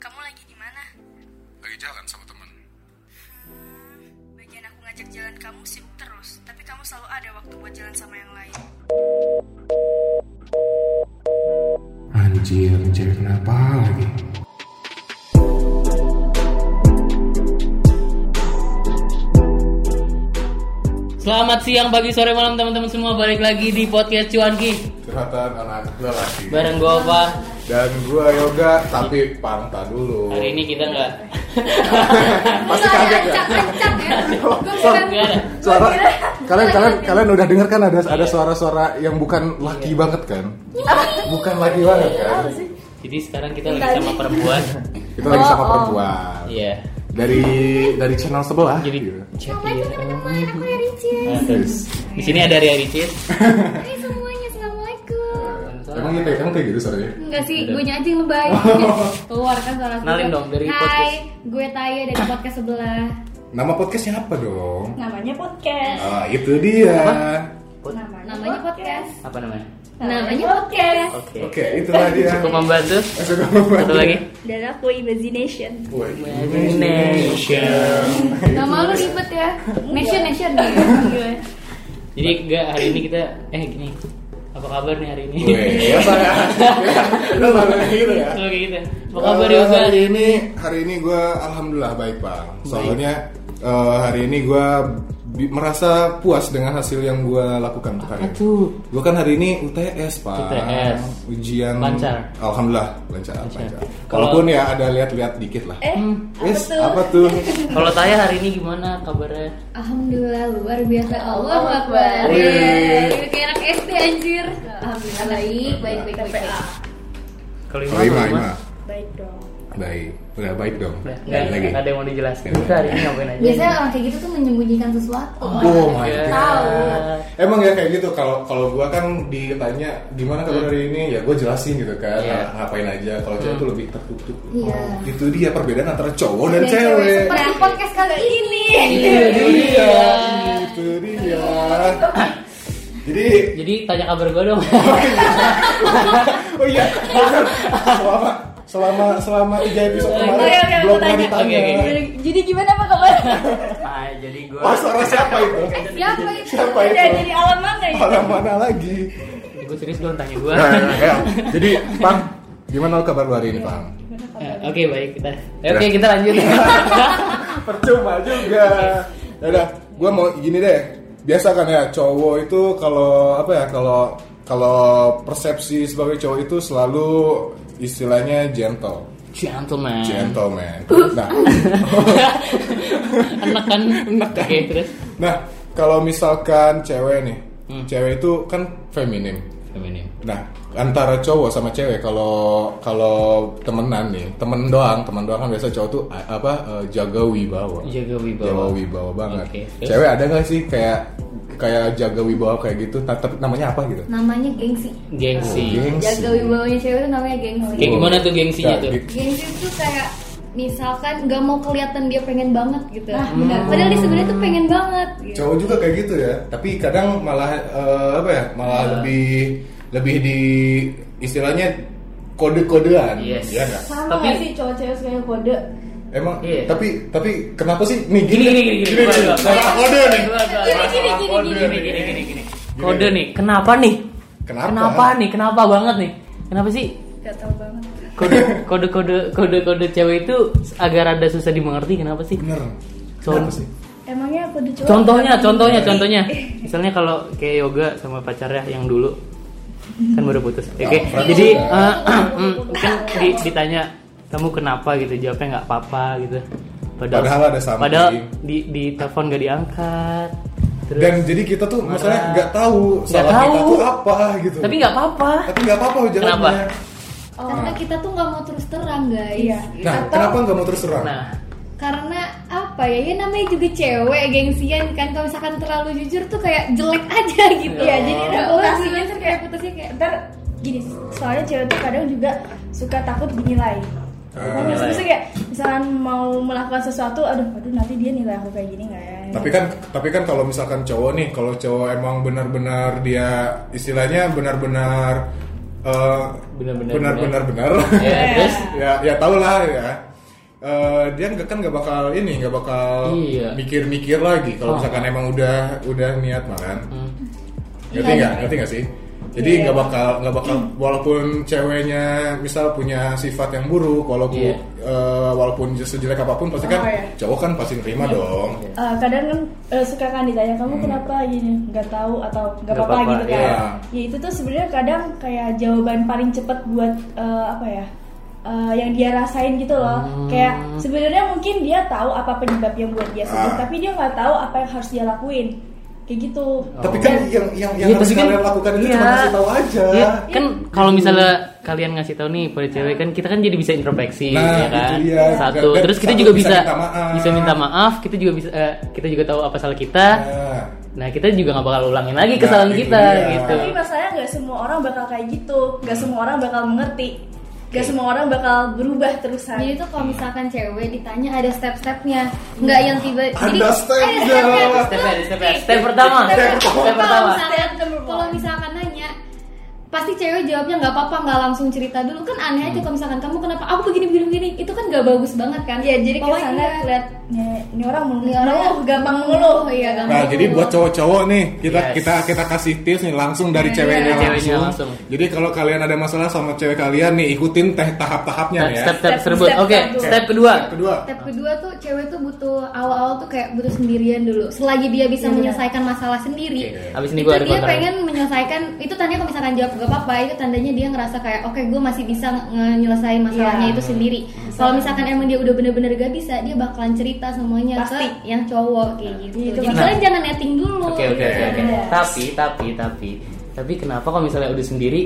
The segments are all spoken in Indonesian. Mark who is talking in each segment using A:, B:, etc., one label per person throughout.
A: Kamu lagi di mana?
B: Lagi jalan sama temen.
A: Hmm, bagian aku ngajak jalan kamu sibuk terus, tapi kamu selalu ada waktu buat jalan sama yang lain.
B: Anjir, anjir kenapa lagi?
C: Selamat siang, pagi, sore, malam teman-teman semua balik lagi di podcast Cuanki
D: Curhatan anak lelaki
C: bareng gua apa?
D: Dan gua yoga tapi pangta dulu
C: Hari ini kita nggak
D: Pasti kaget ya
E: Ancak ya.
C: nggak ada.
D: Suara Kalian kalian kalian udah denger kan ada ada suara-suara yang bukan laki
C: Iya.
D: banget kan? Bukan laki banget kan?
C: Jadi sekarang kita lagi sama perempuan.
D: Kita lagi sama perempuan
C: Oh, Iya.
D: dari dari channel sebelah.
C: Jadi
D: gitu.
E: Assalamualaikum teman-teman, aku ya Ricis.
C: Nah, terus. Di sini ada Ria Ricis.
E: Hai semuanya, assalamualaikum.
D: Emang gitu, emang kayak gitu suaranya.
E: Enggak sih, gue aja yang lebay. Keluar kan suara gue.
C: Kenalin dong, dari
E: Hai,
C: podcast.
E: gue Taya dari podcast sebelah.
D: Nama podcastnya apa dong?
F: Namanya podcast.
D: Ah, itu dia.
E: Namanya podcast.
C: Apa namanya?
E: Namanya podcast.
C: Oke.
D: Oke, itulah dia.
C: Cukup membantu.
D: Cukup
C: Satu lagi.
F: Dan aku Imagination.
D: Woi,
E: Nama lu ribet ya. Nation, nation.
C: Jadi nggak hari ini kita eh gini. Apa kabar nih hari ini?
D: Woi, ya saya. Lu sampai gitu ya.
C: Oke gitu. Apa kabar
D: Eh,
C: Yoga?
D: Hari ini hari ini gue alhamdulillah baik bang. Soalnya eh, hari ini gue merasa puas dengan hasil yang gue lakukan tuh hari ini.
C: tuh?
D: Gue kan hari ini UTS pak.
C: UTS.
D: Ujian.
C: Lancar.
D: Alhamdulillah lancar.
C: Lancar.
D: lancar.
C: Kalau-
D: Walaupun ya ada lihat-lihat dikit lah.
F: Eh,
D: Yes, apa tuh?
C: Kalau Taya hari ini gimana kabarnya?
E: Alhamdulillah luar biasa Allah Akbar.
D: Wih.
E: Ini kayak anak SD anjir. Alhamdulillah baik, baik, baik, baik. baik.
C: Kalau
D: Oh, Ima, Ima.
F: baik dong.
D: Baik. Udah baik dong.
C: Udah,
D: Baik
C: nggak
D: lagi.
C: nggak ada yang mau dijelasin. Kita hari ini ngapain aja?
E: Biasanya orang kayak gitu tuh menyembunyikan sesuatu.
D: Oh my
C: God.
D: god. Emang ya kayak gitu kalau kalau gua kan ditanya gimana kabar hari ini ya gua jelasin gitu kan
C: Iya.
D: nah, ngapain aja kalau cewek tuh lebih tertutup.
E: Iya.
D: Oh, itu dia perbedaan antara cowok dan,
E: Dan
D: cewek.
E: Seperti podcast kali ini.
D: Itu dia. Itu dia. Jadi
C: Jadi tanya kabar gue dong.
D: oh iya bener. selama selama selama tiga episode kemarin
F: Oke, oke,
D: belum
F: aku
D: pernah
F: tanya.
D: ditanya.
C: Oke, oke,
E: Jadi gimana apa kabar?
C: Ah, jadi gue
D: Wah, suara siapa itu?
E: Siapa itu?
D: Siapa
F: Udah
D: itu?
F: jadi alam mana ya?
D: Orang mana lagi? Nah, ya.
C: gue serius dong tanya gue.
D: Jadi, Pang, gimana kabar lu hari ini, Pang?
C: Ya, Oke baik kita. Eh, Oke kita lanjut.
D: percuma juga Yaudah, gue mau gini deh biasa kan ya cowok itu kalau apa ya kalau kalau persepsi sebagai cowok itu selalu istilahnya gentle
C: Gentleman.
D: gentleman nah
C: Enak kan? Oke terus.
D: nah kalau misalkan cewek nih cewek itu kan feminim
C: Feminim.
D: nah antara cowok sama cewek kalau kalau temenan nih temen doang temen doang kan biasa cowok tuh a- apa eh, jaga wibawa
C: Jaga
D: Jawa
C: wibawa.
D: wibawa banget.
C: Oke, terus?
D: Cewek ada nggak sih kayak kayak jaga wibawa kayak gitu? Ta- Tapi namanya apa gitu? Oh,
E: Namanya gengsi.
C: Gengsi.
D: Gengsi. Oh,
E: Jaga wibawanya cewek itu namanya gengsi.
C: Kayak gimana tuh gengsinya
D: Nah,
C: tuh?
D: gitu.
E: Gengsi itu kayak misalkan nggak mau kelihatan dia pengen banget gitu. Nah, Padahal dia sebenarnya tuh pengen banget. Gitu.
D: Hmm. Cowok juga kayak gitu ya. Tapi kadang malah eh, apa ya? Malah
C: Ah.
D: lebih lebih di istilahnya kode-kodean.
C: Yes.
D: Iya nggak?
F: Sama
C: Tapi-
F: Tapi... sih cowok-cewek sekarang kode?
D: Emang
C: Iya.
D: tapi tapi kenapa sih nih
C: Gini gini gini gini. Gua, gua, gua.
D: Salah kode nih.
C: Gua, gua,
D: Salah
C: gua.
F: gini, gini,
D: kode
C: Gini
D: nih.
C: gini gini gini. Kode nih. Kenapa nih?
D: Kenapa?
C: Kenapa nih? Kenapa banget nih? Kenapa sih?
F: Gak tau banget.
C: Kode kode kode kode kode cewek itu agak rada susah dimengerti. Kenapa sih?
D: Bener.
C: Soal-
D: Kenapa sih?
F: Emangnya aku tuh cowok?
C: Contohnya, contohnya, contohnya. Misalnya kalau kayak yoga sama pacarnya yang dulu kan baru putus. Oke,
D: Oh,
C: jadi
D: friends.
C: eh, mm, mungkin di- ditanya kamu kenapa gitu, jawabnya nggak apa-apa gitu.
D: Padahal ada something.
C: Padahal di di telepon gak diangkat. Terus,
D: Dan jadi kita tuh masalahnya
C: Marah.
D: nggak tahu
C: Nggak
D: salah kita
C: tahu.
D: tuh apa gitu.
C: tapi nggak apa-apa.
D: tapi nggak apa-apa jalannya. Nah,
C: Kenapa?
E: Oh. Karena kita tuh nggak mau terus terang guys.
F: Iya.
D: Nah, kenapa nggak mau terus terang?
C: Nah,
E: Karena apa ya? Ya namanya juga cewek gengsian kan. Kalau misalkan terlalu jujur tuh kayak jelek aja gitu.
F: Iya, jadi reputasinya tuh kayak
E: reputasinya kayak
F: Ntar gini, soalnya cewek tuh kadang juga suka takut dinilai. Kan
C: Dinilai.
F: maksudnya kayak misalkan mau melakukan sesuatu, aduh, aduh nanti dia nilai aku kayak gini nggak ya?
D: Tapi kan, tapi kan kalau misalkan cowok nih, kalau cowok emang benar-benar dia istilahnya benar-benar eh,
C: Benar-benar
D: benar-benar benar.
C: Ya,
F: Iya.
C: terus
D: ya ya tau lah ya. Eh, dia nggak kan nggak bakal ini nggak bakal
C: Iya.
D: mikir-mikir lagi kalau
C: Ah.
D: misalkan emang udah udah niat makan
C: hmm,
D: ngerti nggak ngerti nggak sih jadi
F: Iya.
D: nggak bakal nggak bakal walaupun ceweknya misal punya sifat yang buruk walaupun
C: Iya.
D: eh, walaupun sejelek apapun pasti
F: Oh,
D: kan
F: iya.
D: cowok kan pasti nerima dong
F: Eh, kadang kan eh, suka kan ditanya kamu kenapa gini nggak tahu atau nggak
C: Nggak
F: apa-apa
C: apa-apa,
F: gitu kan
D: iya.
F: ya itu tuh sebenarnya kadang kayak jawaban paling cepat buat eh, apa ya eh, yang dia rasain gitu loh kayak sebenarnya mungkin dia tahu apa penyebab yang buat dia sedih
D: Ah.
F: tapi dia nggak tahu apa yang harus dia lakuin kayak gitu
D: tapi kan yang yang yang
C: Iya,
D: harus
C: tapi kan-
D: kalian lakukan itu
C: iya.
D: cuma kasih tahu aja
C: Iya, kan kalau misalnya kalian ngasih tahu nih pada cewek kan kita kan jadi bisa introspeksi
D: Nah,
C: ya kan.
D: itu dia.
C: Satu,
D: Dan-
C: terus kita
D: satu
C: juga
D: bisa
C: bisa
D: minta maaf.
C: bisa minta maaf, kita juga bisa eh, kita juga tahu apa salah kita.
D: Nah,
C: Nah, kita juga nggak bakal ulangin lagi
D: Nah,
C: kesalahan
D: itu
C: kita
D: dia.
C: gitu.
F: tapi masalahnya nggak semua orang bakal kayak gitu nggak semua orang bakal mengerti nggak semua orang bakal berubah terusan
E: Jadi tuh kalau misalkan cewek ditanya ada step-stepnya, nggak
F: Iya.
E: yang tiba.
D: Ada
E: jadi,
D: stepnya.
E: Ada
C: Step,
E: stepnya.
C: by step, by step pertama.
D: Step
E: Kalau
C: Step pertama.
E: misalkan,
F: Step number one.
E: kalau misalkan nanya, pasti cewek jawabnya nggak apa-apa, nggak langsung cerita dulu kan
F: Hmm.
E: aneh aja kalau misalkan kamu kenapa aku begini begini begini, itu kan nggak bagus banget kan?
F: ya jadi
E: Pokoknya
F: kesana
E: iya.
F: kelihatannya ini orang
E: Ini
F: mengeluh
E: orang
F: gampang mengeluh
E: Oh iya, gampang
D: nah jadi buat cowok-cowok nih kita
C: Yes. Iya,
D: kita kita kasih tips nih langsung dari ceweknya,
C: dari ceweknya
D: langsung.
C: langsung.
D: Jadi kalau kalian ada masalah sama cewek kalian nih ikutin teh tahap-tahapnya ya.
C: Step step
F: Step-
C: tersebut.
F: step
C: Oke,
F: satu.
C: step kedua.
D: Step kedua.
E: Step kedua tuh cewek tuh butuh awal-awal tuh kayak butuh sendirian dulu. Selagi dia
F: Iya,
E: bisa menyelesaikan masalah sendiri.
C: Oke, abis ini
E: itu
C: gua ada
E: dia
C: kontra.
E: pengen menyelesaikan itu tandanya kalau misalkan jawab gak apa-apa itu tandanya dia ngerasa kayak oke gue masih bisa menyelesaikan masalahnya
F: Iya.
E: itu sendiri. Kalau misalkan emang dia udah bener-bener gak bisa dia bakalan cerita semuanya
F: Pasti.
E: ke yang cowok kayak gitu.
F: Iya, itu
E: Jadi
F: benar.
E: kalian jangan netting dulu.
C: Oke oke oke. oke.
F: Iya.
C: Tapi tapi tapi tapi kenapa kalau misalnya udah sendiri,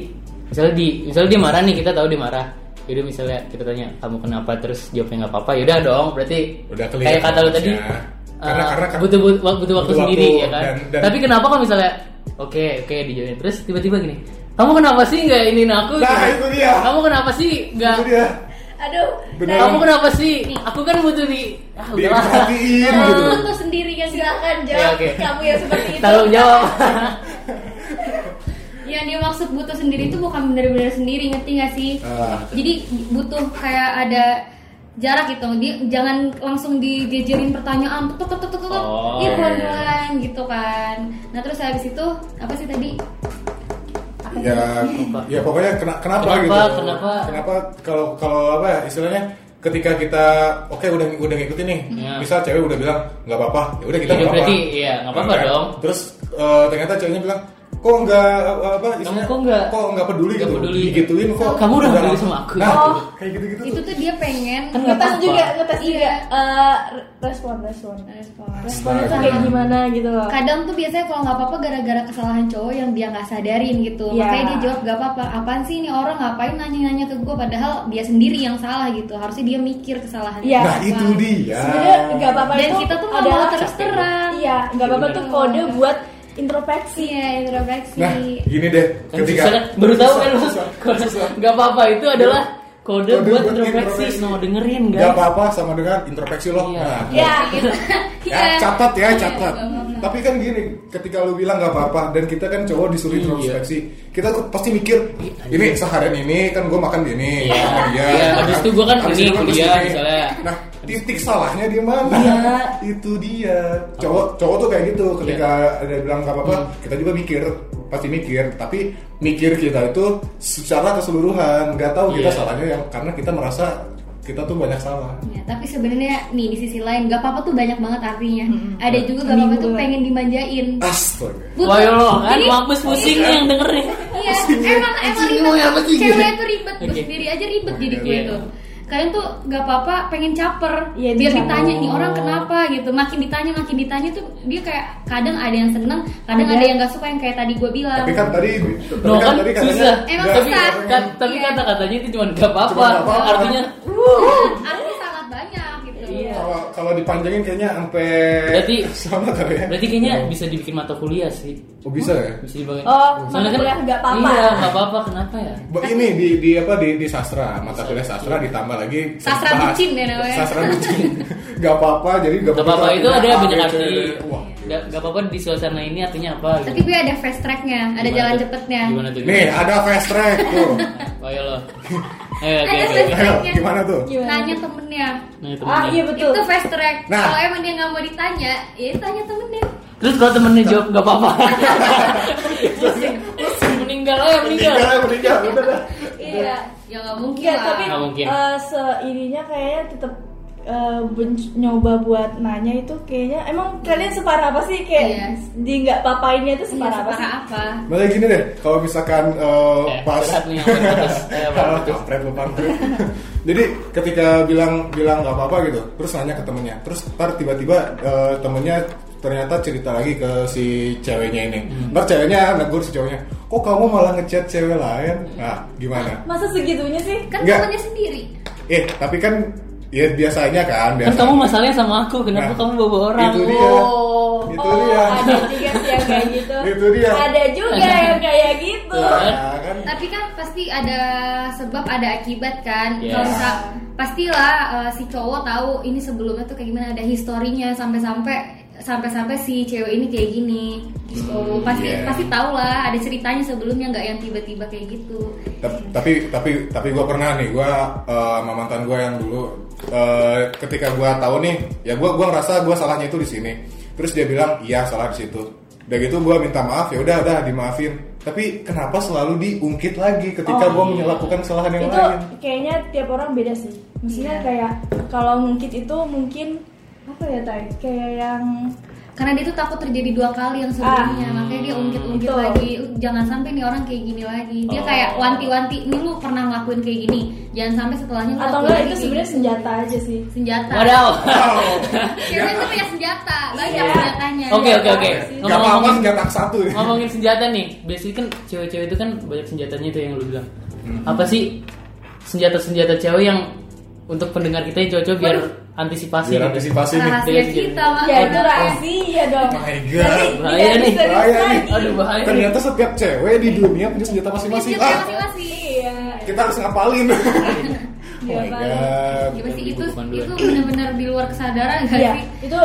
C: misalnya di misalnya dia marah nih kita tahu dia marah. Yaudah misalnya kita tanya kamu kenapa terus jawabnya nggak apa-apa. Yaudah dong berarti
D: Udah clear
C: kayak kata lu tadi.
D: fokusnya.
C: eh,
D: Karena- karena kan-
C: butuh, butuh, butuh waktu
D: butuh
C: sendiri
D: waktu
C: ya kan.
D: dan- dan-
C: Tapi kenapa kalau misalnya oke oke dijawabin terus tiba-tiba gini. Kamu kenapa sih nggak ini aku?
D: Nah,
C: Gitu.
D: itu dia.
C: Kamu kenapa sih nggak?
D: Itu dia.
F: aduh
D: Bener.
C: Kamu kenapa sih? Aku kan butuh di. Ah, udahlah.
D: Diperhatiin
E: Nah,
D: gitu.
E: lu tuh sendiri yang
F: silakan
C: Ya,
F: jawab
C: oke.
F: kamu yang seperti itu
C: Tanggung jawab.
E: Yang dia maksud butuh sendiri itu bukan bener-bener sendiri ngerti gak sih?
D: Ah.
E: Jadi butuh kayak ada jarak gitu. Dia jangan langsung dijejerin pertanyaan tuk tuk tuk tuk. tuk.
C: Oh,
E: Iya
C: iya.
E: pelan-pelan gitu kan. Nah, terus habis itu apa sih tadi? Apa
D: ya ya pokoknya kena- kenapa,
C: Kenapa,
D: gitu
C: kenapa?
D: kenapa kalau kalau apa ya istilangnya ketika kita oke udah udah ngikutin nih
C: Ya.
D: misal cewek udah bilang nggak apa-apa ya udah kita
C: Ya,
D: nggak apa-apa
C: berarti, iya, nggak apa-apa
D: Nah,
C: dong.
D: terus eh, ternyata ceweknya bilang kok nggak eh, apa istilahnya
C: kok nggak-
D: kok nggak peduli
C: nggak
D: gitu
C: peduli.
D: digituin kok
C: Kamu udah peduli
D: lama."
C: sama aku.
D: nah,
F: Oh.
D: kayak gitu gitu
E: itu tuh dia pengen
C: Kan
F: ngetes
C: Apa?
F: juga ngetes juga
E: Iya.
F: Eh, re- respon respon
E: respon.
F: respon itu kayak gimana gitu loh
E: Kadang tuh biasanya kalau nggak apa-apa gara-gara kesalahan cowok yang dia nggak sadarin gitu.
F: Iya.
E: Makanya dia jawab nggak apa-apa. Apaan sih ini orang ngapain nanya-nanya ke gue padahal dia sendiri yang salah gitu. Harusnya dia mikir kesalahannya.
F: Iya.
D: nah
E: apa.
D: itu dia
F: sebenarnya nggak apa-apa
E: Dan
F: itu
E: kita tuh nggak
F: adalah
E: mau terus terang.
F: iya nggak apa-apa tuh kode buat introspeksi Iya.
E: Iya, introspeksi.
D: nah gini deh
C: Kan
D: ketika
C: susah kan? baru tahu kan lu
D: Susah,
C: Kode-
D: susah. Iya.
C: nggak apa-apa itu adalah kode,
D: Kode
C: buat
D: buat
C: introspeksi
D: introspeksi.
C: no dengerin guys
D: nggak apa-apa sama dengan introspeksi loh
C: Iya.
D: Nah,
F: ya Iya.
D: ya catat ya catat
E: nggak apa-apa.
D: tapi kan gini ketika lu bilang nggak apa-apa dan kita kan cowok disuruh
C: Iya.
D: introspeksi kita tuh pasti mikir ini seharian ini kan gue makan gini
C: Iya.
D: sama dia Nah,
C: Iya, habis itu gua kan
D: Habis
C: ini,
D: itu gua
C: kuliah,
D: mesti ini.
C: misalnya.
D: nah titik salahnya di mana itu dia cowok cowok tuh kayak gitu ketika
C: Iya.
D: ada bilang nggak apa-apa
C: Hmm.
D: kita juga mikir pasti mikir tapi mikir kita itu secara keseluruhan nggak tahu kita
C: Iya.
D: salahnya yang karena kita merasa kita tuh banyak salah
E: Ya, tapi sebenarnya nih di sisi lain gak apa-apa tuh banyak banget artinya. Ada juga gak apa-apa tuh
F: Minggu.
E: pengen dimanjain.
D: astaga
E: Butuh.
C: Wah ya Allah, kan
E: Jadi-
C: mampus pusing yang dengerin
E: Iya, emang emang
D: Pusing, ya,
E: ribet.
D: pusing.
E: Cewek tuh ribet, gue
C: Oke.
E: sendiri aja ribet jadi gue
C: Iya.
E: tuh. Kalian tuh gak apa-apa pengen caper
F: Iya,
E: biar
F: dia
E: ditanya
C: caper.
E: nih orang kenapa gitu. Makin ditanya makin ditanya tuh dia kayak kadang ada yang seneng, kadang
F: Ada.
E: ada, yang gak suka yang kayak tadi gue bilang.
D: Tapi kan tadi, tapi
C: No,
D: kan
C: kan
D: tadi katanya
C: susah.
D: Nggak,
E: Emang susah.
D: nggak
C: Kan,
D: pengen.
C: tapi
E: Iya.
C: kata-katanya itu cuma nggak apa-apa
D: Cuma nggak apa-apa.
C: artinya
E: Artinya sangat banyak gitu.
C: Iya.
D: Kalau kalau dipanjangin kayaknya sampai
C: Berarti-
D: sama kali ya.
C: berarti kayaknya bisa dibikin mata kuliah sih
D: oh, bisa ya.
C: bisa dibangun
F: Oh, mata kuliah nggak apa-apa.
C: iya nggak apa-apa kenapa ya
D: Ba- Ini di di apa di, di sastra mata kuliah sastra ditambah lagi
E: Sastra
D: bahas-
E: bucin ya namanya.
D: Sastra bucin. gak apa-apa jadi gak
C: Nggak apa-apa, itu ada banyak arti.
D: Wah, gila.
C: Gak, gak apa-apa di suasana ini artinya apa
E: Tapi gue ada fast tracknya, ada
C: Gimana
E: jalan
C: tuh?
E: cepetnya.
C: Gimana tuh?
D: Nih ada fast track tuh.
C: Oh ya lo Ayo oke oke
E: Ada fast
C: oke.
D: Ayo,
E: tracknya.
D: gimana tuh?
F: Gimana?
E: Nanya temennya.
C: Nah,
F: ah
C: temennya.
F: iya betul
E: Itu fast track.
D: Nah.
E: Kalau emang dia nggak mau ditanya, ya tanya temennya.
C: Terus kalau temennya jawab gak apa-apa Meninggal aja meninggal
D: Meninggal, meninggal, udah dah.
E: Iya. Ya nggak mungkin
F: Iya,
E: lah.
F: tapi
C: Nggak mungkin.
F: eh, seininya kayaknya tetap eh, ben- nyoba buat nanya itu kayaknya emang kalian separah apa sih kayak
E: Iya.
F: di nggak papainnya itu
E: Iya,
F: separah apa sih?
E: separah apa?
D: Makanya gini deh, kalau misalkan eh,
C: Eh,
D: pas
C: berat nih, apa putus? Eh, apa
D: Kalau
C: putus?
D: kampret lu, kampret. Jadi ketika bilang bilang nggak apa-apa gitu, terus nanya ke temennya, terus ntar tiba-tiba eh, temennya ternyata cerita lagi ke si ceweknya ini. Ntar ceweknya negur si cowoknya, kok kamu malah ngechat cewek lain? Nah, gimana?
F: Masa segitunya sih?
E: Kan
D: Nggak.
E: temennya sendiri.
D: Eh, tapi kan ya biasanya kan,
C: Kan
D: biasa.
C: kamu masalahnya sama aku Kenapa
D: Nah,
C: kamu bawa orang
D: itu dia.
C: Oh.
D: Itu
F: oh,
D: dia.
F: ada juga sih yang kayak gitu.
D: Itu dia.
F: Ada juga yang kayak gitu.
D: Nah, kan
E: Tapi kan pasti ada sebab ada akibat kan.
C: Yes.
E: Kalau misal pastilah eh, si cowok tahu ini sebelumnya tuh kayak gimana ada historinya sampai-sampai sampai-sampai si cewek ini kayak gini gitu. pasti
D: yeah.
E: pasti tahu lah ada ceritanya sebelumnya nggak yang tiba-tiba kayak gitu.
D: Ta- tapi tapi tapi gue pernah nih gue eh, sama mantan gue yang dulu eh, ketika gue tahu nih ya gue gua ngerasa gue salahnya itu di sini terus dia bilang iya salah di situ udah gitu gue minta maaf ya udah udah dimaafin tapi kenapa selalu diungkit lagi ketika
F: Oh,
D: gue
C: iya.
D: melakukan kesalahan yang
F: itu
D: lain
F: kayaknya tiap orang beda sih maksudnya
E: Iya.
F: kayak kalau ngungkit itu mungkin apa ya tay kayak yang
E: Karena dia tuh takut terjadi dua kali yang sebelumnya, makanya dia ungkit-ungkit
F: Ah, Betul. Oh.
E: lagi. Jangan sampai nih orang kayak gini lagi. Dia kayak wanti-wanti, ini lu pernah ngelakuin kayak gini. Jangan sampai setelahnya lu
F: atau
E: lakuin
F: enggak itu
E: lagi kayak
F: sebenarnya
E: gini."
F: senjata aja sih
E: senjata.
C: Wadaw
E: Cewek itu punya senjata, banyak
F: Iya.
E: senjatanya.
C: Oke oke oke
D: gak apa-apa
C: Ngomong-ngomong
D: gak tak satu ya. nih
C: ngomongin senjata nih biasanya kan cewek-cewek itu kan banyak senjatanya itu yang lu bilang
D: Mhm.
C: apa sih senjata-senjata cewek yang untuk pendengar kita yang cowok-cowok biar antisipasi
D: biar
C: gitu?
D: antisipasi nih
E: Rahasia kita
F: ya
E: makanya.
F: itu rahasia dong
D: Oh my god
C: Bahaya
F: Jadi
C: nih.
F: tidak bisa
D: Bahaya
F: lagi.
D: nih.
C: aduh bahaya nih.
D: ternyata setiap cewek di dunia punya senjata masing-masing
E: Senjata
D: ah
E: masing-masing.
F: iya
D: kita harus ngapalin
C: iya,
E: Iya,
D: oh my
F: Diapalin.
D: god
E: Gimana
C: Bukan
E: sih itu
C: dulu, bukan
E: itu
C: dulu.
E: benar-benar di luar kesadaran gak
F: Iya,
E: sih?
F: itu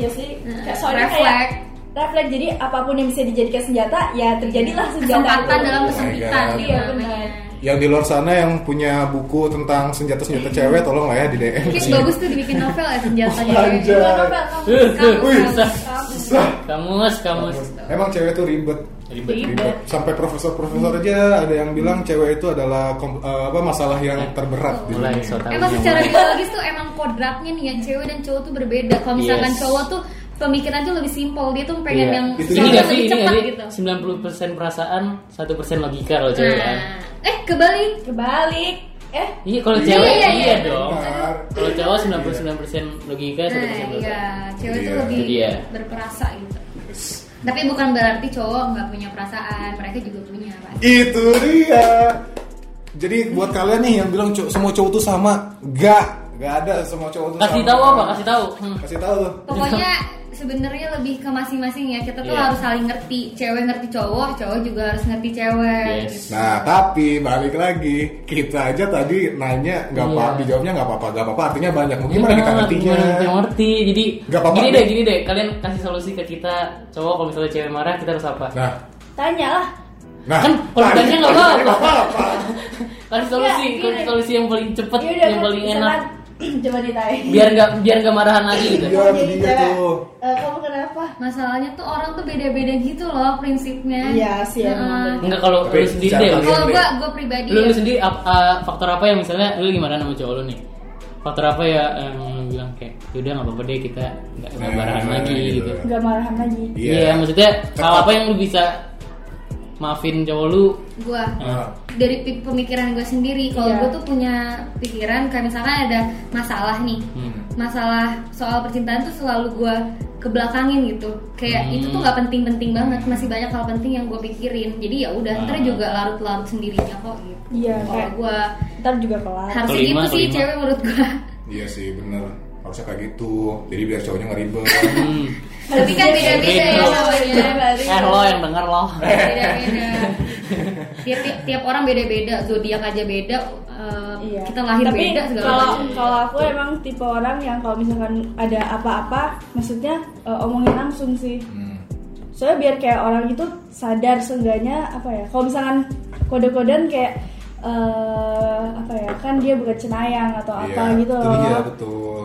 F: iya sih
E: Nah,
F: soalnya kayak
E: refleks.
F: refleks jadi apapun yang bisa dijadikan senjata ya terjadilah senjata
E: Kesempatan
F: itu. Oh
E: dalam
D: my
E: kesempitan
D: God.
E: gitu
F: Iya,
E: namanya.
F: benar.
D: Yang di luar sana yang punya buku tentang senjata-senjata
C: Hmm.
D: cewek tolong lah ya di DM.
E: Mungkin
C: Iya.
E: bagus tuh dibikin novel ya senjatanya.
D: Anjay.
F: Coba, coba, kamu-
C: Eh, eh,
E: Kamu,
C: wih,
E: kamu.
C: sa-
D: Susah.
C: kamus kamus
D: Emang cewek tuh ribet.
C: Ribet. Hmm.
D: Ribet. Sampai profesor-profesor aja ada yang bilang cewek itu adalah kom- eh, apa masalah yang terberat di
C: mulai
D: dunia.
C: so tau
E: Emang
C: nih,
E: secara
C: mulai.
E: biologis tuh emang kodratnya nih ya cewek dan cowok tuh berbeda. Kalau misalkan
C: Yes.
E: cowok tuh pemikiran tuh lebih simpel, dia tuh pengen
C: Iya.
E: yang
D: Itu
C: ini
D: dia.
E: sesuatu yang
C: gak sih
E: lebih
C: ini
E: cepat gitu.
C: gak sih 90% perasaan 1% logika kalau cewek kan
E: Nah, eh kebalik.
F: kebalik eh
C: iya kalau cewek
E: iya,
C: iya,
E: iya.
C: dong
D: Bentar.
C: kalau cowok 99% logika 1%
E: Nah, iya,
C: perasaan
E: cewek tuh
D: Iya.
E: lebih
C: Itu dia.
E: berperasa gitu. Tapi bukan berarti cowok nggak punya perasaan, mereka juga punya pasti.
D: Itu dia. Jadi buat kalian nih yang bilang cow- semua cowok tuh sama, gak gak ada semua cowok tuh
C: kasih
D: sama.
C: tahu apa kasih tahu Hmm.
D: Kasih tahu tuh.
E: Pokoknya sebenarnya lebih ke masing-masing ya. Kita tuh
C: Iya.
E: harus saling ngerti. Cewek ngerti cowok, cowok juga harus ngerti cewek.
C: Yes.
D: Nah, tapi balik lagi, kita aja tadi nanya nggak
C: Iya.
D: apa-apa, dijawabnya nggak apa-apa, nggak apa-apa. Artinya banyak. Mungkin ya.
C: Gimana
D: gimana kita ngertinya?
C: Gimana kita ngerti? Jadi
D: Gak apa-apa
C: gini
D: deh.
C: deh, gini deh. Kalian kasih solusi ke kita cowok kalau misalnya cewek marah kita harus apa?
D: Nah,
F: tanya lah
D: nah,
C: Kan kalau
D: tadi-
C: ditanya nggak
D: tadi
C: apa-apa.
D: apa-apa.
C: Kasih solusi,
E: Iya,
F: gini.
C: kasih solusi yang paling cepet,
F: Yaudah,
C: yang paling enak.
F: Iya, misalkan- coba ditanya
E: Iya,
C: Biar nggak biar nggak marahan lagi gitu.
D: Iya,
F: Kamu jadi
D: begitu.
F: cewek, eh, kamu kenapa?
E: Masalahnya tuh orang tuh beda-beda gitu loh prinsipnya.
F: Iya sih,
E: Nah,
F: emang
C: Enggak kalau
D: Tapi
C: lu sendiri
D: secara
C: deh.
D: kalian-
E: Kalau gua gua pribadi
C: Iya, Lu, lu
E: ya,
C: sendiri ap- uh, faktor apa yang misalnya lu gimana sama cowok lu nih? Faktor apa ya yang lu bilang kayak yaudah nggak apa-apa deh kita nggak nggak
D: Nah,
C: marahan lagi
D: gitu.
C: gitu.
F: Gak marahan lagi
D: Iya.
C: Iya, maksudnya hal
D: Tetap.
C: apa yang lu bisa maafin cowok lu?
E: gua
D: Nah,
E: dari pi- pemikiran gue sendiri kalau
F: Iya.
E: gue tuh punya pikiran kayak misalkan ada masalah nih
C: Hmm.
E: masalah soal percintaan tuh selalu gue kebelakangin gitu kayak
C: Hmm.
E: itu tuh nggak penting-penting banget masih banyak hal penting yang gue pikirin jadi ya udah ntar
C: Ah.
E: juga larut-larut sendirinya kok gitu
F: Iya,
E: kalau
F: kayak
E: gue
F: ntar juga kelar
E: harusnya
C: Kelima,
E: gitu sih
C: kelima.
E: cewek menurut gue
D: Iya sih, bener. harusnya kayak gitu jadi biar cowoknya nggak ribet
E: Tapi kan
F: Iya,
E: beda-beda
F: gitu.
E: ya namanya.
C: Hmm. eh lo yang denger lo
E: Beda-beda. tiap, tiap- tiap orang beda-beda, zodiak aja beda. eh,
F: Iya.
E: Kita lahir
F: Tapi
E: beda segala
F: kalau
E: macam.
F: kalau aku emang tipe orang yang kalau misalkan ada apa-apa, maksudnya eh, omongin langsung sih.
D: Hmm.
F: Soalnya biar kayak orang itu sadar seenggaknya apa ya. Kalau misalkan kode-kodean kayak eh, apa ya kan dia bukan cenayang atau apa
D: Iya,
F: gitu
D: itu
F: loh.
D: dia betul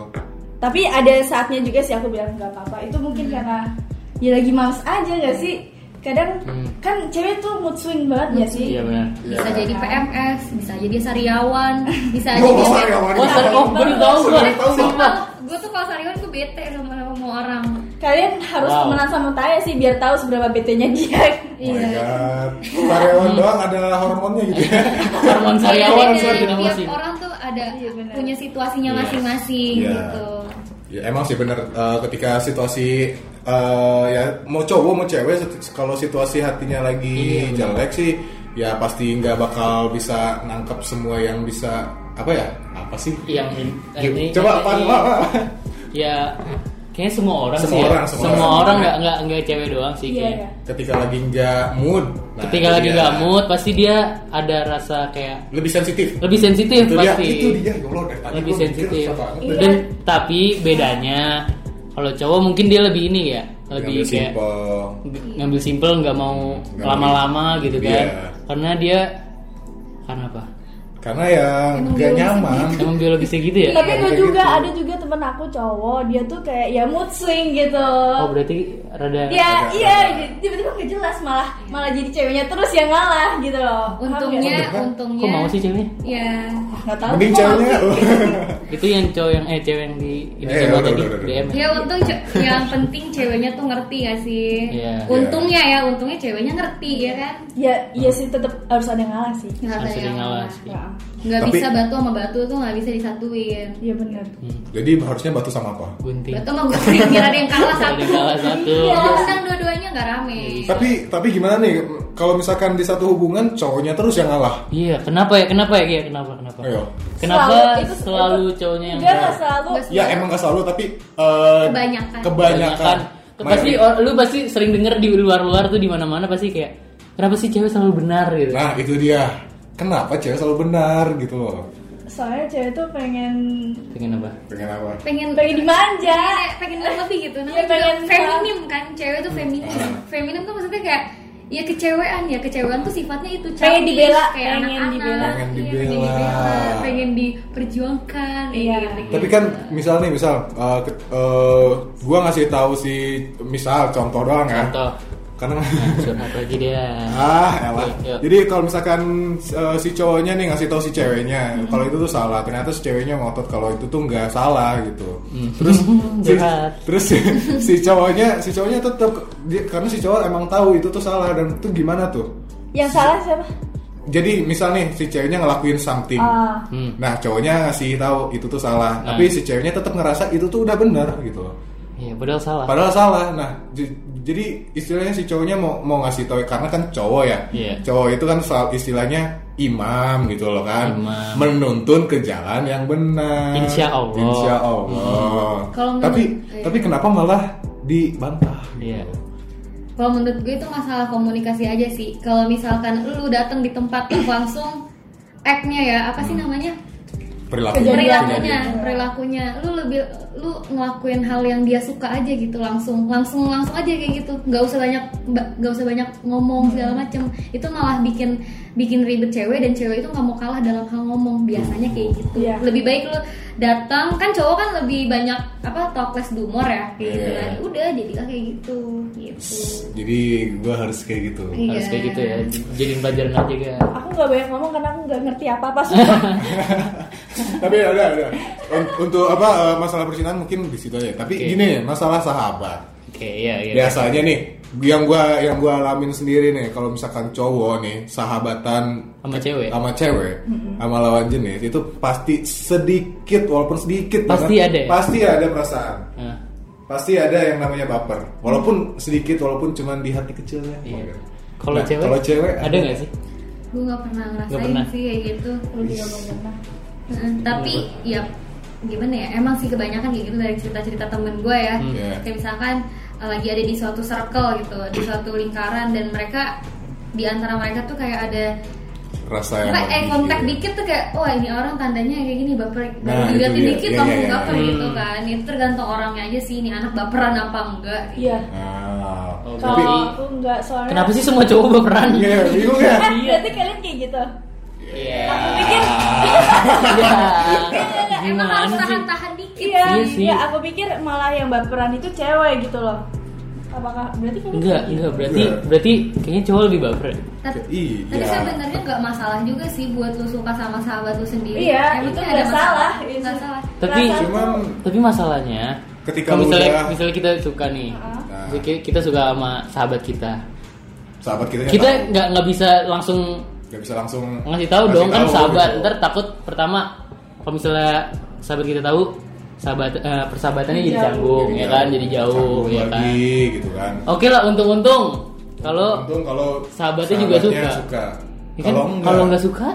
F: Tapi ada saatnya juga sih aku bilang nggak apa-apa. Itu mungkin karena ya lagi males aja gak sih? Kadang
D: Hmm.
F: kan cewek tuh mood swing banget ya sih.
C: iya benar
E: Bisa
D: Iya.
E: jadi PMS, bisa jadi dia sariawan, bisa
D: Gua ya,
E: jadi
D: mau
E: dia-
D: sariawan.
C: oh ser oh gue udah tahu gue
D: Tahu nggak?
C: sumpah
E: Gue tuh kalau sariawan gue bete sama sama orang.
F: Kalian harus
C: Wow.
F: temenan sama Taya sih biar tahu seberapa BT-nya dia.
D: Oh
E: Iya.
F: Iya.
D: my god, karyawan
C: Hmm.
D: doang ada hormonnya gitu ya.
C: hormon sariawan
E: Beda-beda,
C: surat dinamo
E: Iya, Tiap orang tuh ada
F: Iya, benar.
E: punya situasinya
C: Iya.
E: masing-masing
D: Iya.
E: gitu.
D: Ya emang sih bener eh, ketika situasi eh, ya mau cowok mau cewek sit- kalau situasi hatinya lagi
C: Iya,
D: jelek sih ya pasti nggak bakal bisa nangkep semua yang bisa apa ya apa sih?
C: yang ini ini-
D: Coba apa?
C: ini- ya kayaknya semua orang
D: Semua
C: sih ya.
D: orang, semua
C: semua,
D: orang.
C: orang nggak nggak nggak cewek doang sih
F: Iya
C: kayaknya
F: ya.
D: Ketika lagi nggak mood. nah,
C: ketika
D: itu
C: lagi
D: dia.
C: nggak mood pasti dia ada rasa kayak
D: lebih sensitif.
C: lebih sensitif
D: itu dia,
C: Iya, pasti
D: itu dia. Ya Allah, dari tadi gua
C: lebih
D: mikir
C: sensitif
D: susah banget.
F: Iya.
C: dan tapi bedanya kalau cowok mungkin dia lebih ini ya lebih
D: Ngambil
C: kayak
D: simple.
C: ng- ngambil simple nggak mau
D: Nggak
C: lama-lama gitu kan
D: Iya.
C: karena dia karena apa
D: Karena ya nggak nyaman.
C: emang biologisnya gitu ya
F: Tapi gue
D: Kayak
F: juga
D: gitu.
F: ada juga temen aku cowok, dia tuh kayak ya mood swing gitu.
C: oh berarti rada
F: Ya,
D: Agak-
F: iya,
D: agak-
F: tiba-tiba nggak jelas malah malah jadi ceweknya terus yang ngalah gitu loh. Paham
E: Untungnya,
D: kan?
F: nggak?
E: untungnya.
C: kok mau sih ceweknya
E: Ya.
F: Ah, nggak tahu.
D: Mending
F: kok.
D: ceweknya.
C: itu yang cowok yang eh cewek yang di ini
D: Eh,
C: coba
D: udah,
C: tadi
D: udah, udah.
C: DM
E: Ya untung ce- yang penting ceweknya tuh ngerti gak sih?
C: Iya.
E: Untungnya ya, untungnya ceweknya ngerti ya kan?
F: Ya, iya sih tetap harus ada yang ngalah sih.
E: Nggak
C: Harus
E: ada
C: ada
E: yang
C: ngalah
E: ngalah.
C: sih.
F: Nah,
E: Nggak
D: Tapi-
E: bisa batu sama batu tuh nggak bisa disatuin.
F: Iya benar.
D: Jadi harusnya batu sama apa?
C: Hmm, gunting
E: Batu sama gunting biar ada yang
C: Iya.
E: kalah
C: ada
E: satu.
C: salah satu
F: Iya.
E: Kalau menang dua-duanya nggak rame.
D: Tapi tapi gimana nih kalau misalkan di satu hubungan cowoknya terus yang ngalah?
C: iya kenapa ya kenapa ya Iya, kenapa kenapa
D: Ayo.
C: kenapa
F: Selalu-
C: selalu,
F: itu- itu-
C: cowoknya yang
F: Enggak nggak selalu.
E: Nggak
D: Ya emang gak selalu tapi eh,
E: Kebanyakan.
D: Kebanyakan.
C: pasti or- lu pasti sering denger di luar-luar tuh di mana-mana pasti kayak kenapa sih cewek selalu benar gitu
D: Nah itu dia. Kenapa cewek selalu benar gitu loh?
F: Soalnya cewek tuh pengen
C: pengen apa
D: Pengen apa?
E: pengen
F: pengen dimanja.
E: Iya, pengen lebih gitu namanya
F: Iya, pengen
E: juga feminim kan cewek tuh feminim feminim tuh maksudnya kayak ya kecewean ya kecewean tuh sifatnya itu
F: Pengen
E: childish,
F: dibela,
E: kayak
F: pengen
E: anak-anak.
F: dibela.
D: Pengen
E: Iya,
D: dibela.
E: pengen diperjuangkan
F: Iya.
D: Tapi kan misal nih misal eh, ke- eh, gua ngasih tahu si misal contoh doang ya.
C: contoh
D: Karena
C: curhat lagi dia
D: Ah, elah.
C: Yuk, yuk.
D: Jadi kalau misalkan eh, si cowoknya nih ngasih tahu si ceweknya, kalau itu tuh salah. Ternyata si ceweknya ngotot kalau itu tuh nggak salah gitu. Terus si,
C: Hmm, Jahat.
D: terus si, si cowoknya, si cowoknya tetap dia- karena si cowok emang tahu itu tuh salah dan itu gimana tuh?
F: Yang salah siapa?
D: Jadi misal nih si ceweknya ngelakuin something.
F: Ah.
C: Hmm.
D: Nah, cowoknya ngasih tahu itu tuh salah,
C: Nah.
D: tapi si ceweknya tetap ngerasa itu tuh udah bener gitu loh.
C: iya padahal salah
D: Padahal salah. Nah, j- jadi istilahnya si cowoknya mau mau ngasih tahu karena kan cowok ya.
C: Iya.
D: Cowok itu kan soal istilahnya imam gitu loh kan.
C: Imam.
D: Menuntun ke jalan yang benar.
C: Insya Allah. Hmm.
D: Insya Allah.
E: Kalau menurut-
D: tapi
E: iya.
D: tapi kenapa malah dibantah?
C: Iya.
E: kalau menurut gue itu masalah komunikasi aja sih kalau misalkan lu datang di tempat langsung act-nya ya apa sih namanya
D: Perilaku
E: perilakunya perilakunya lu lebih lu ngelakuin hal yang dia suka aja gitu langsung langsung langsung aja kayak gitu nggak usah banyak ba- nggak usah banyak ngomong segala macem itu malah bikin bikin ribet cewek dan cewek itu nggak mau kalah dalam hal ngomong biasanya kayak gitu
F: Iya.
E: lebih baik lu datang kan cowok kan lebih banyak apa talkless dumor ya kayak gitu
D: Iya.
E: kan udah jadilah kayak gitu gitu
D: Jadi gue harus kayak gitu.
C: harus
E: Iya.
C: kayak gitu ya j- jadiin pelajaran aja kan
F: Aku nggak banyak ngomong karena aku nggak ngerti apa-apa sumpah.
D: tapi ada ada. Un- Untuk apa eh, masalah percintaan mungkin di situ aja. Tapi
C: Oke.
D: gini masalah sahabat.
C: oke iya iya
D: biasanya nih yang gua yang gua alamin sendiri nih kalau misalkan cowok nih sahabatan
C: sama cewek
D: sama cewek sama lawan jenis itu pasti sedikit walaupun sedikit
C: Pasti
D: banget,
C: ada ya?
D: pasti ada perasaan
C: Nah,
D: pasti ada yang namanya baper walaupun sedikit walaupun cuman di hati kecilnya
C: Iya. kalau
D: Nah,
C: cewek
D: kalau cewek
C: ada nggak sih
E: gue nggak pernah ngerasain
C: pernah.
E: sih kayak gitu
F: Lu juga belum pernah.
E: Heeh, tapi ya gimana ya emang sih kebanyakan kayak gitu dari cerita-cerita temen gue ya
C: Hmm.
D: Iya.
E: kayak misalkan eh, lagi ada di suatu circle gitu di suatu lingkaran dan mereka di antara mereka tuh kayak ada
D: Rasa yang
E: apa eh
D: lebih-
E: kontak dikit tuh kayak wah ini orang tandanya kayak gini baper baru
D: gitu. Nah, itu
E: diliatin
D: dia.
E: dikit
D: Iya,
E: langsung
D: iya, iya.
E: baper gitu
C: Hmm.
E: kan itu tergantung orangnya aja sih ini anak baperan apa enggak gitu.
F: Iya.
D: Nah,
C: Oh,
D: tapi
F: Kalau aku enggak soalnya.
C: Kenapa sih semua cowok baperan?
D: Iya, bingung ya.
F: Eh, berarti kalian kayak gitu.
C: Iya.
F: Aku pikir
C: Iya.
E: emang harus
C: Gimana sih?
E: tahan-tahan dikit
F: iya,
C: Iya sih.
F: iya, aku pikir malah yang baperan itu cewek gitu loh. Apakah berarti kalian
C: Enggak,
F: kayak gitu?
C: enggak berarti
D: Enggak.
C: berarti kayaknya cowok lebih baper.
E: tapi,
D: Iya.
E: tapi sebenarnya nggak masalah juga sih buat lu suka sama sahabat lu sendiri
F: Iya,
E: Emang
F: itu
E: nggak
F: nggak
E: masalah.
F: salah.
E: nggak salah
C: Tapi
F: Perasaan
D: Cuman
C: tapi masalahnya
D: Ketika
C: kalau
D: lu
C: misalnya
D: udah-
C: misalnya kita suka nih.
D: Nah.
C: Misalnya ki- Kita suka sama sahabat kita.
D: sahabat kita
C: Kita nggak nggak bisa langsung
D: nggak bisa langsung
C: ngasih tahu dong kan
D: tahu
C: sahabat.
D: gitu.
C: Ntar takut pertama kalau misalnya sahabat kita tahu sahabat eh, persahabatannya jadi
F: Jauh.
C: canggung ya
D: Jadi
C: kan jadi jauh
D: canggung
C: ya kan.
D: Iya, lagi, gitu kan.
C: Oke lah untung-untung kalau
D: Untung kalau
C: sahabatnya juga
D: sahabatnya
C: suka. ya kan,
D: Kalau enggak,
C: kalau nggak suka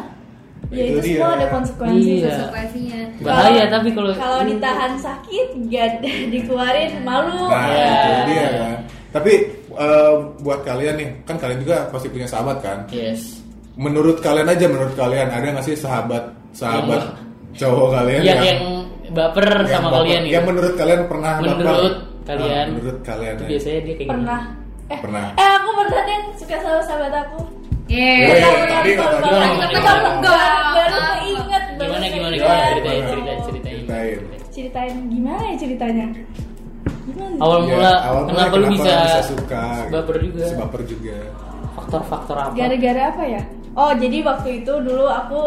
F: Ya itu,
D: Itu dia.
F: semua ada konsekuensi.
C: Iya.
E: konsekuensinya
C: bahaya
F: Kalau-
C: tapi kalau
F: Kalau ditahan sakit, gak dikeluarin malu.
D: Nah,
C: Iya.
D: itu dia kan. Tapi eh, buat kalian nih, kan kalian juga pasti punya sahabat kan?
C: Yes.
D: Menurut kalian aja, menurut kalian ada nggak sih sahabat sahabat cowok kalian
C: yang yang Iya, baper
D: Ya yang
C: sama
D: baper-
C: kalian gitu.
D: Yang menurut kalian pernah baper?
C: Menurut
D: Ah,
C: kalian.
D: menurut kalian
C: Itu
D: ya.
C: biasanya dia kayak gitu.
F: Pernah. Eh,
D: Pernah.
F: eh, aku pernah deh suka sama sahabat aku.
E: yeah.
D: Weh,
F: Tahu ya,
D: Iya, tapi
F: baru-
D: nggak
F: baru-
C: tahu.
F: baru- baru-
E: Nggak tahu.
F: baru- baru keinget,
C: gini.
F: baru
C: Gimana gimana
F: keinget.
C: gimana
D: Iya.
C: ceritain ceritain ceritain.
D: Ceritain.
F: Ceritain gimana ya ceritanya? Gimana?
C: Awal
D: Iya,
C: mula
D: awal mula
C: kenapa lu bisa,
D: suka?
C: baper juga?
D: Si baper juga.
F: Oh.
C: Faktor-faktor apa?
F: Gara-gara apa ya? Oh, jadi waktu itu dulu aku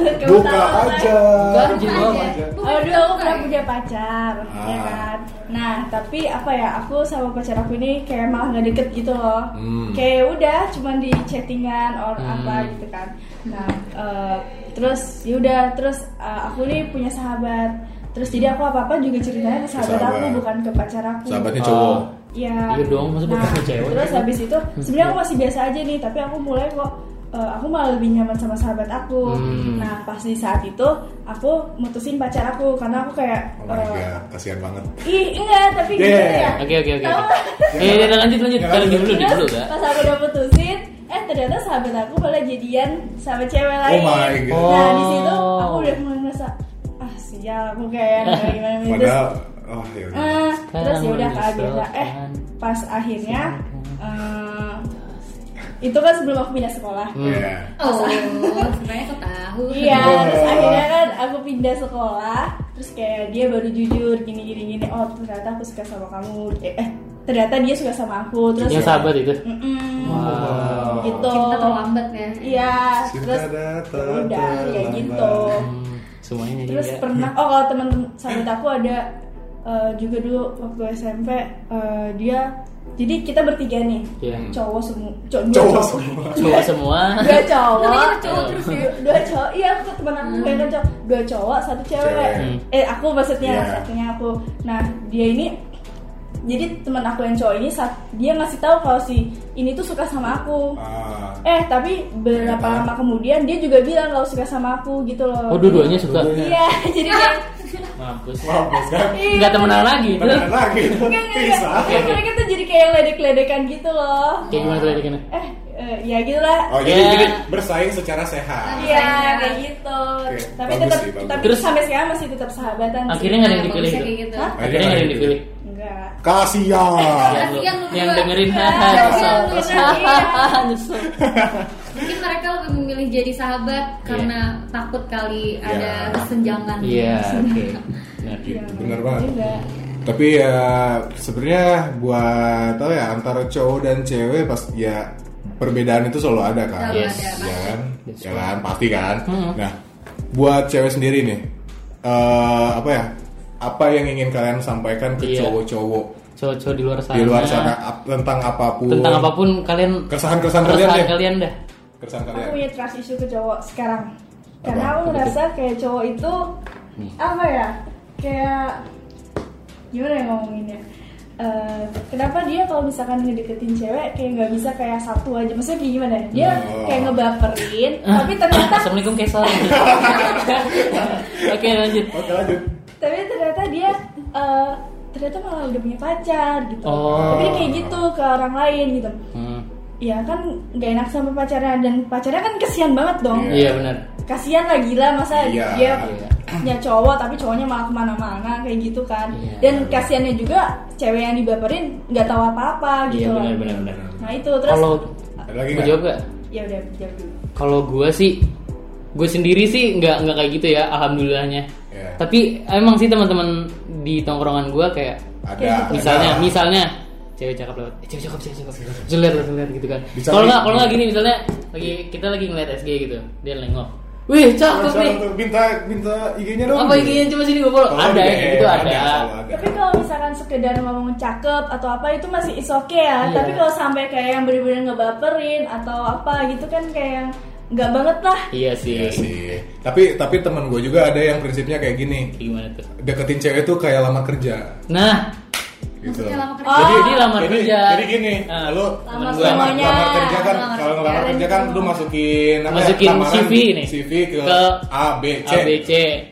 F: Kamu
D: Buka
F: tahu, kan?
D: aja.
C: Buka aja.
D: Buka aja.
F: Oh, dulu aku pernah punya pacar, ya
D: Ah.
F: kan? Nah, tapi apa ya? Aku sama pacar aku ini kayak malah nggak deket gitu loh.
D: Hmm.
F: Kayak ya udah, cuman di chattingan or
C: Hmm.
F: apa gitu kan. Nah, eh, terus ya udah, terus eh, aku nih punya sahabat. Terus jadi aku apa apa juga ceritanya ke sahabat,
D: Sahabat.
F: aku bukan ke pacar aku.
D: Sahabatnya
C: Ah.
D: Eh, cowok.
F: Iya.
C: Iya dong, masa bukan sama cewek?
F: Terus habis itu sebenarnya aku masih biasa aja nih, tapi aku mulai kok eh, aku malah lebih nyaman sama sahabat aku.
C: Hmm.
F: Nah, pas di saat itu aku mutusin pacar aku karena aku kayak
D: Oh my
F: eh,
D: god, kasihan banget.
F: ih enggak, tapi
D: Yeah.
F: gitu ya.
C: Oke oke oke.
F: Tahu.
C: oke. Eh udah, lanjut lanjut.
D: Ya,
C: Kalau
D: lanjut.
C: dulu di dulu
F: Terus
C: enggak?
F: pas aku udah putusin, eh ternyata sahabat aku malah jadian sama cewek lain.
D: Oh my god.
F: Nah, di
C: Oh.
F: situ aku udah mulai merasa ah sial aku kayak gimana gimana Terus
D: Padahal oh ya udah.
F: Eh, terus
C: Sekarang
F: ya udah kak biasa
C: menyesalkan.
F: eh pas akhirnya eh, itu kan sebelum aku pindah sekolah
D: Iya.
E: oh sebenarnya aku tahu
F: iya
D: Oh.
F: terus akhirnya kan aku pindah sekolah terus kayak dia baru jujur gini gini gini oh ternyata aku suka sama kamu eh eh, ternyata dia suka sama aku terus
D: ya?
C: Yang sahabat itu.
F: Mm-mm.
C: Wow.
F: gitu
E: cinta terlambat ya
F: iya
D: Cinta
F: terus
D: datang
F: udah kayak
D: terlambat.
F: gitu
C: Hmm, semuanya jadi
F: Terus
C: enggak.
F: pernah oh kalau teman-teman sahabat aku ada eh, juga dulu waktu SMP eh, dia jadi kita bertiga nih.
C: Iya.
F: Cowok semua, cowok,
D: Cowok semua.
C: Cowok semua.
F: Dua cowok,
E: Namanya cowok terus ya? Hmm.
F: dua- dua cowok, iya aku teman aku kayak kan cowok, dua cowok, satu cewek.
D: Cewek.
C: Hmm.
F: Eh aku maksudnya
D: Iya.
F: satunya aku. Nah dia ini, jadi teman aku yang cowok ini saat dia ngasih tahu kalau si ini tuh suka sama aku.
D: Ah. Iya.
F: Eh tapi berapa
D: Ternyata.
F: lama kemudian dia juga bilang kalau suka sama aku gitu loh.
C: Oh dua-duanya suka.
F: Iya jadi kayak
C: Mampus.
D: Mampus kan?
F: Iya,
C: Enggak temenan lagi.
D: Beneran lagi.
F: Enggak, enggak,
D: Bisa.
F: enggak. Terus mereka tuh jadi kayak ledek-ledekan gitu loh.
C: Kayak gimana kelihatan?
F: Eh, eh, ya gitu lah.
D: Oh jadi,
C: Iya.
D: jadi bersaing secara sehat.
F: Iya, kayak gitu.
D: Oke,
F: Tapi
D: bagus
F: tetap
D: sih, bagus.
F: tapi
C: Terus-
F: sampai sekarang masih tetap sahabatan sih.
C: Akhirnya nggak ada yang dipilih
E: Bagusnya
C: gitu.
E: kayak gitu
F: Hah?
C: Akhirnya nggak ada yang dipilih.
F: Enggak.
D: Kasihan.
C: Yang,
E: Kasihan lu
C: yang
E: berdua.
C: dengerin haha,
F: Iya,
C: nyesel.
F: iya.
C: Hahaha, nyesel.
E: mungkin mereka lebih memilih jadi sahabat karena takut kali ada
D: Iya.
E: kesenjangan
C: Iya, oke. Benar.
F: Iya,
D: Bener banget.
F: Juga.
D: Tapi ya sebenarnya buat apa ya antara cowok dan cewek pas ya perbedaan itu selalu ada kan.
E: Selalu
C: Yes.
E: ada,
D: Ya kan?
C: That's
D: Ya kan? pasti kan.
C: Hmm.
D: Nah, buat cewek sendiri nih eh, apa ya? Apa yang ingin kalian sampaikan ke
C: Iya.
D: cowok-cowok
C: Cowok-cowok di luar sana.
D: di luar sana ap- tentang apapun?
C: Tentang apapun kalian
D: Keresahan-keresahan kalian
C: keresahan
D: deh.
C: kalian dah.
D: Keresahan
F: Aku ya.
D: kalian.
F: punya trust issue ke cowok sekarang. Karena
D: Apa? Hmm.
F: aku ngerasa kayak cowok itu apa ya? Kayak gimana ya ngomonginnya? eh, kenapa dia kalau misalkan ngedeketin cewek kayak nggak bisa kayak satu aja maksudnya kayak gimana dia
D: Hmm.
F: kayak ngebaperin
D: Ah.
F: tapi ternyata
C: Assalamualaikum Kesal. Oke lanjut.
D: Oke lanjut.
F: tapi ternyata dia eh, ternyata malah udah punya pacar gitu
C: Oh.
F: tapi dia kayak gitu ke orang lain gitu
C: Hmm.
F: ya kan nggak enak sama pacarnya dan pacarnya kan kesian banget dong
D: Iya.
C: Iya benar.
F: kasihan lah gila masa
D: Iya.
F: dia
C: Iya.
F: punya cowok tapi cowoknya malah kemana-mana kayak gitu kan
C: Iya.
F: dan kasihannya juga cewek yang dibaperin nggak tahu apa-apa
C: Iya
F: gitu
C: benar
F: loh.
C: benar benar.
F: nah itu terus
C: Kalau
D: Ada lagi
C: mau
D: nggak?
C: jawab gak?
F: ya udah jawab dulu
C: Kalau gue sih, gue sendiri sih nggak nggak kayak gitu ya, alhamdulillahnya.
D: Iya.
C: Tapi emang sih teman-teman di tongkrongan gue kayak
D: Ada.
C: misalnya
D: ada.
C: misalnya cewek cakep lewat eh, cewek cakep cewek cakep Terus lihat lihat lihat gitu kan
D: Bisa
C: kalau
D: nih.
C: nggak kalau nggak gini misalnya lagi kita lagi ngeliat SG gitu dia nengok wih cakep
D: Sekarang
C: nih
D: Iya, tuh minta minta IG-nya dong.
C: apa yang coba sini gue follow
D: Kalau
C: ada ya
D: ada,
C: gitu ada
D: kalau ada.
F: tapi kalau misalkan sekedar ngomong cakep atau apa itu masih is okay ya
C: Iya.
F: tapi kalau sampai kayak yang bener-bener ngebaperin atau apa gitu kan kayak yang nggak banget lah
C: iya sih
D: Iya sih. Tapi tapi teman gue juga ada yang prinsipnya kayak gini.
C: gimana tuh
D: Deketin cewek itu kayak lama kerja.
C: nah
D: Gitu.
E: Maksudnya lama kerja.
F: Oh.
C: jadi dia lamar
D: jadi,
C: kerja
D: Jadi gini,
C: Nah,
D: lu
F: Lamar
D: lamar,
F: semuanya.
D: lamar kerja kan,
E: Lamar
D: kalau ngelamar
E: kerja.
D: kerja kan lu masukin apa ya,
C: Masukin
D: lamaran
C: CV
D: di-
C: nih.
D: CV ke,
C: Ke
D: A, B, C.
C: ABC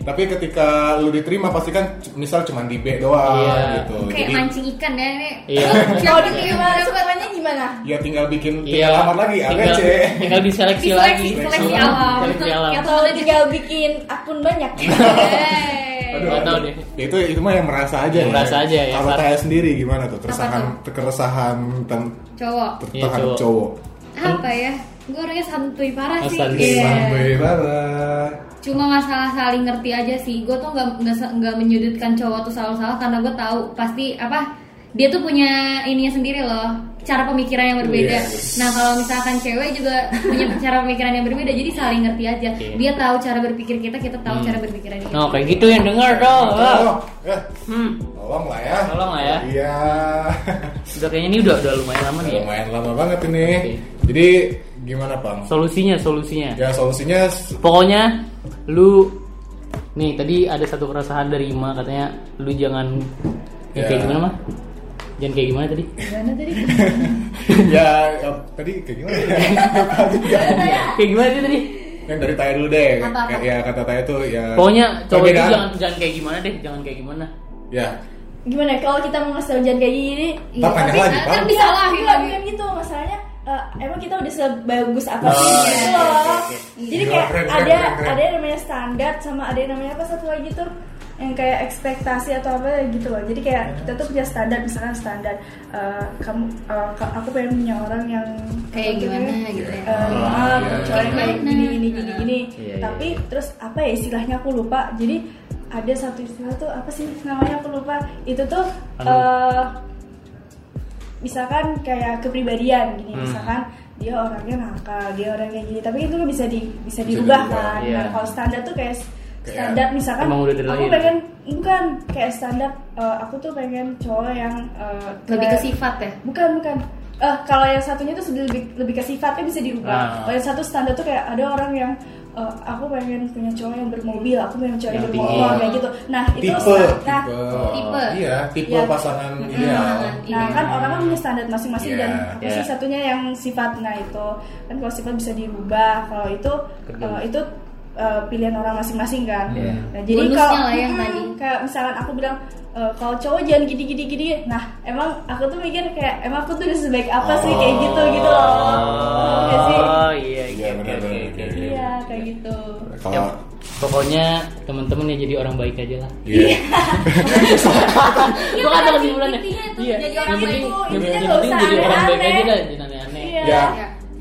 D: Tapi ketika lu diterima pasti kan c- misal cuma di B doang
C: Iya.
D: gitu.
E: kayak
D: Jadi
E: mancing ikan ya ini.
C: Iya.
E: Kalau
F: kalau diterima
E: Iya.
F: semuanya gimana
D: ya tinggal bikin
C: iya
D: tinggal lamar lagi A, B,
C: tinggal,
D: C.
C: tinggal diseleksi lagi
E: Diseleksi, seleksi alam. Iya.
C: seleksi alam
E: Yang
F: atau tinggal bikin akun banyak
E: Yeay.
C: nggak tahu deh
D: Ya, itu itu mah yang merasa aja.
C: Yang merasa aja ya,
D: Kalau
C: Sar.
D: saya sendiri gimana tuh
E: Apa
D: keresahan keresahan tentang
E: Cowok.
C: Iya,
D: terhadap
C: cowok.
D: cowok.
E: Apa ya? Gue orangnya santuy parah
C: Oh,
E: sih.
C: santuy.
E: Iya.
D: Sampai parah.
E: Cuma masalah saling ngerti aja sih. Gue tuh nggak nggak se- nggak menyudutkan cowok tuh selalu salah karena gue tahu pasti apa dia tuh punya ininya sendiri loh cara pemikiran yang berbeda.
C: Iya.
E: Nah kalau misalkan cewek juga punya cara pemikiran yang berbeda, jadi saling ngerti aja.
C: Iya.
E: Dia tahu cara berpikir kita, kita tahu cara berpikir dia.
C: nah kayak gitu yang denger dong
D: Tolong, eh,
C: hmm
D: tolong lah ya.
C: Tolong lah ya.
D: Iya.
C: udah kayaknya ini udah udah lumayan lama nih ya
D: Lumayan lama banget ini.
C: Oke.
D: Jadi gimana bang?
C: solusinya solusinya
D: Ya solusinya s-
C: pokoknya lu nih tadi ada satu keresahan dari Ima katanya lu jangan yang
D: Ya.
C: kayak gimana mah jangan kayak gimana tadi
E: Gimana tadi?
D: ya, ya, tadi kayak gimana? ya? Lupa juga.
C: kayak gimana sih tadi
D: Yang dari Taya dulu deh.
E: Apa-apa?
D: Ya kata Taya tuh ya.
C: pokoknya cowok itu
D: perbedaan.
C: jangan jangan kayak gimana deh jangan kayak gimana
D: Ya.
F: gimana kalau kita mau ngasih tau jangan kayak gini
E: Iya,
D: Ntar panjang
E: tapi-
D: lagi, Bang.
E: kan bisa
F: Iya,
E: lah
F: iya, bukan gitu masalahnya eh, emang kita udah sebagus apa sih
D: Oh,
F: gitu
D: iya,
F: loh
D: iya, iya.
F: jadi
D: Gila,
F: kayak
D: keren, keren,
F: ada
D: keren, keren.
F: ada yang namanya standar sama ada yang namanya apa satu lagi tuh yang kayak ekspektasi atau apa gitu loh jadi
D: Iya.
F: kayak kita tuh punya standar misalkan standar eh, kamu eh, ka- aku pengen punya orang yang
E: Kayak gimana gitu ya.
F: eh, maaf,
D: iya,
F: cowok yang kayak gini
E: Gimana?
F: gini gini gini
C: Iya,
F: tapi
C: iya.
F: terus apa ya istilahnya aku lupa jadi ada satu istilah tuh apa sih namanya aku lupa itu tuh
C: Anu.
F: eh, misalkan kayak kepribadian gini
C: Hmm.
F: misalkan dia orangnya nakal dia orang kayak gini tapi itu kan bisa di bisa dirubah
D: dirubah,
F: kan
C: iya.
F: Nah, kalau standar tuh kayak s-
D: Kayak
F: standar misalkan
C: emang udah
F: aku
C: dilahir.
F: pengen bukan kayak standar eh, aku tuh pengen cowok yang eh,
E: Lebih ke
F: kayak-
E: sifat ya.
F: bukan bukan Eh, kalau yang satunya tuh sudah lebih lebih ke sifatnya bisa dirubah
C: Ah.
F: kalau yang satu standar tuh kayak ada orang yang eh, aku pengen punya cowok yang bermobil aku pengen cowok yang
C: Yang
F: bermotor
C: tinggi.
F: kayak gitu nah itu
D: Tipe,
F: sta- nah,
D: tipe,
E: Tipe.
D: iya, tipe
F: Iya.
D: pasangan, iya,
E: Nah,
F: nah
E: iya.
F: kan orang kan punya standar masing-masing
D: Iya.
F: dan aku sih
C: Iya.
F: satunya yang sifat nah itu kan kalau sifat bisa dirubah kalau itu
C: Kedua.
F: eh, itu eh, pilihan orang masing-masing kan
C: Iya.
F: nah, jadi
E: Bonusnya
F: kalau
E: lah yang
F: Mm,
E: tadi.
F: kayak misalkan aku bilang eh, kalau cowok jangan gini-gini gini nah emang aku tuh mikir kayak emang aku tuh udah sebaik apa sih kayak gitu gitu loh Tau gak sih
C: oh iya
D: Iya,
C: iya
D: benar, benar,
C: iya
D: benar.
F: iya kayak gitu
D: Kalau
C: pokoknya teman-teman ya jadi orang baik aja lah
D: iya,
C: Gua kata kesimpulannya.
E: Iya, intinya itu
C: Iya.
E: jadi orang
C: Yang penting-
E: baik.
C: yang
F: Intinya
C: penting
F: nggak usah
C: jadi orang baik aja
F: aneh-aneh.
C: dah jangan aneh-aneh
F: Iya.
D: ya,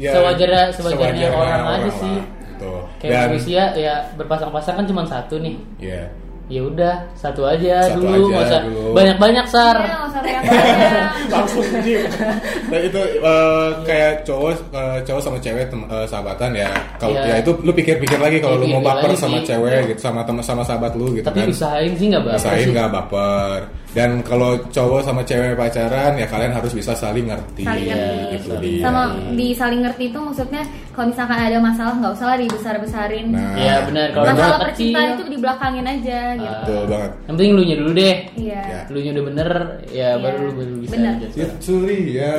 D: ya,
C: Sewajarnya- sewajarnya orang aja
D: lah,
C: sih.
D: gitu.
C: kayak
D: Dan,
C: manusia ya berpasang-pasang kan cuma satu nih
D: iya.
C: ya udah satu aja
D: Satu
C: dulu
D: aja
C: nggak usah
D: dulu.
C: banyak-banyak sar
E: Iya, nggak usah banyak-banyak.
D: langsung diem. Nah itu
C: Iya.
D: eh, kayak cowok eh, cowok sama cewek tem- eh, sahabatan ya. Kalau
C: Iya.
D: ya itu lu pikir-pikir lagi kalau
C: Iya,
D: lu mau
C: pikir
D: baper
C: lagi
D: sama
C: sih. Iya.
D: cewek gitu sama teman sama sahabat lu gitu
C: tapi
D: kan.
C: usahain sih nggak bakal
D: Usahain
C: sih.
D: nggak baper. dan kalau cowok sama cewek pacaran ya kalian harus bisa saling ngerti
E: Iya, Saling ngerti.
D: gitu dia.
E: sama disaling ngerti itu maksudnya kalau misalkan ada masalah nggak usah lah dibesar-besarin
D: Nah,
C: Iya, benar. Kalau
D: benar.
E: masalah
C: Kecil.
E: percintaan itu dibelakangin aja gitu
D: betul banget
C: Yang penting lu nya dulu deh.
E: iya
D: Ya.
C: Lu nya udah bener, ya baru lu baru bisa.
E: Bener.
C: aja sekarang.
D: itu dia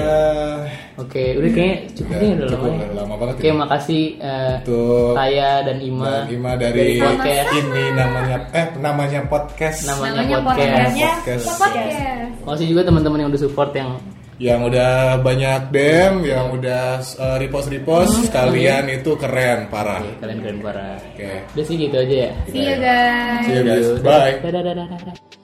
C: Oke, udah kayaknya cukup
D: Iya. Udah,
C: nih udah
D: Iya, cukup,
C: lama. ya.
D: udah lama banget
C: Oke,
D: ini.
C: makasih eh,
D: untuk
C: Taya dan Ima.
D: Dan Ima dari
C: Sama-sama.
D: ini namanya eh namanya podcast
C: Namanya,
E: Namanya
C: podcast.
E: podcast. Iya.
F: Ya,
D: Podcast.
F: podcast.
C: Makasih juga teman-teman yang udah support yang
D: yang udah banyak dem yang udah eh, repost repost
C: Hmm.
D: kalian itu keren parah
C: Oke,
D: oke
C: kalian keren parah. Udah sih gitu aja ya.
E: see you guys
D: see you guys
C: Dadah,
D: bye
C: dadah, dadah, dadah.